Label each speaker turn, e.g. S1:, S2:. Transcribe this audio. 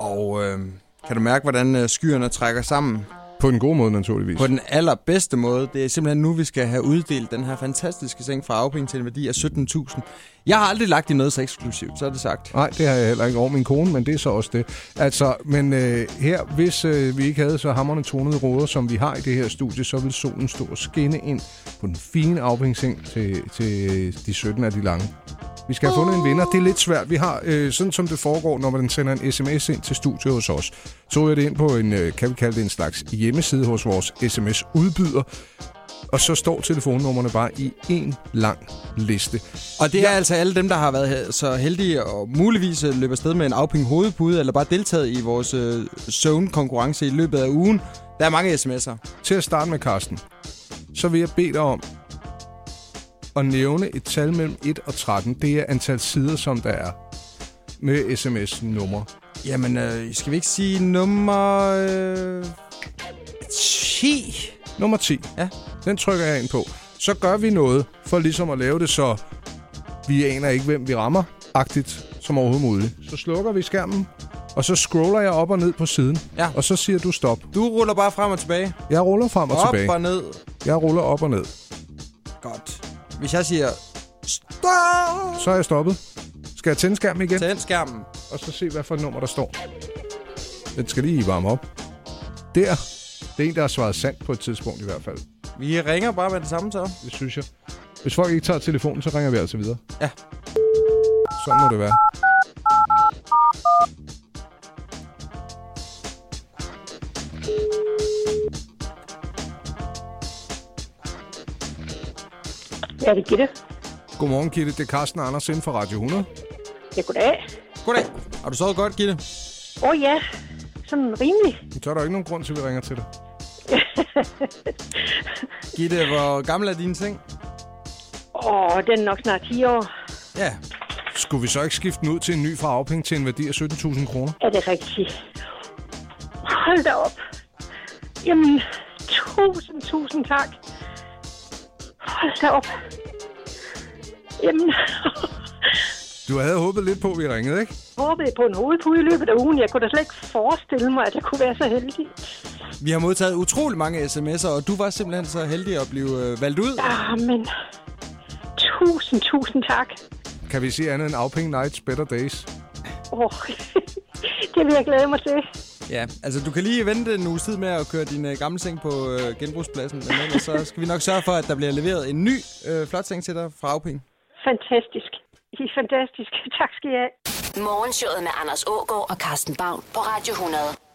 S1: Og øh, kan du mærke, hvordan øh, skyerne trækker sammen?
S2: På den gode måde, naturligvis.
S1: På den allerbedste måde. Det er simpelthen nu, vi skal have uddelt den her fantastiske seng fra afpenge til en værdi af 17.000. Jeg har aldrig lagt i noget så eksklusivt, så er det sagt.
S2: Nej, det har jeg heller ikke over min kone, men det er så også det. Altså, men øh, her, hvis øh, vi ikke havde så hammerne tonede råder, som vi har i det her studie, så ville solen stå og skinne ind på den fine afhængsseng til, til øh, de 17 af de lange. Vi skal have fundet en vinder. Det er lidt svært. Vi har, øh, sådan som det foregår, når man sender en sms ind til studiet hos os, så jeg det ind på en, øh, kan vi kalde det en slags hjemmeside hos vores sms-udbyder, og så står telefonnummerne bare i en lang liste.
S1: Og det er altså alle dem, der har været he- så heldige og muligvis øh, løber afsted med en afpenge hovedpude, eller bare deltaget i vores øh, zone-konkurrence i løbet af ugen. Der er mange sms'er.
S2: Til at starte med, Karsten, så vil jeg bede dig om at nævne et tal mellem 1 og 13. Det er antal sider, som der er med sms-nummer.
S1: Jamen, øh, skal vi ikke sige nummer... Øh, 10?
S2: Nummer 10.
S1: Ja.
S2: Den trykker jeg ind på. Så gør vi noget for ligesom at lave det, så vi aner ikke, hvem vi rammer, agtigt som overhovedet muligt. Så slukker vi skærmen, og så scroller jeg op og ned på siden.
S1: Ja.
S2: Og så siger du stop.
S1: Du ruller bare frem og tilbage.
S2: Jeg ruller frem og
S1: op
S2: tilbage.
S1: og ned.
S2: Jeg ruller op og ned.
S1: Godt. Hvis jeg siger... Stop!
S2: Så er jeg stoppet. Skal jeg tænde skærmen igen?
S1: Tænd skærmen.
S2: og så se, hvad for et nummer der står. Den skal lige varme op. Der. Det er en, der har svaret sandt på et tidspunkt i hvert fald.
S1: Vi ringer bare med det samme så.
S2: Det synes jeg. Hvis folk ikke tager telefonen, så ringer vi altså videre.
S1: Ja.
S2: Sådan må det være.
S3: Ja, det er Gitte.
S2: Godmorgen, Gitte. Det er Carsten Anders inden for Radio 100.
S3: Ja, goddag.
S1: Goddag. Har du sovet godt, Gitte?
S3: Åh oh, ja, sådan rimelig.
S2: Så er der jo ikke nogen grund til, at vi ringer til dig.
S1: Gitte, hvor gammel er dine ting?
S3: Åh, oh, den er nok snart 10 år.
S1: Ja.
S2: Skulle vi så ikke skifte den ud til en ny fra afpenge til en værdi af 17.000 kroner?
S3: Er det rigtigt? Hold da op. Jamen, tusind, tusind tak. Hold da op. Jamen,
S2: Du havde håbet lidt på, at vi ringede, ikke?
S3: jeg håbede på en hovedpude i løbet af ugen. Jeg kunne da slet ikke forestille mig, at jeg kunne være så heldig.
S1: Vi har modtaget utrolig mange sms'er, og du var simpelthen så heldig at blive øh, valgt ud.
S3: Ah, men tusind, tusind tak.
S2: Kan vi sige andet end afpenge nights, better days?
S3: Åh, oh, det vil jeg glæde mig til.
S1: Ja, altså du kan lige vente en uges tid med at køre din øh, gamle seng på øh, genbrugspladsen, men ellers så skal vi nok sørge for, at der bliver leveret en ny øh, flot seng til dig fra Auping.
S3: Fantastisk. I er fantastisk. Tak skal I have.
S4: Morgenshowet med Anders Ågaard og Carsten Baum på Radio 100.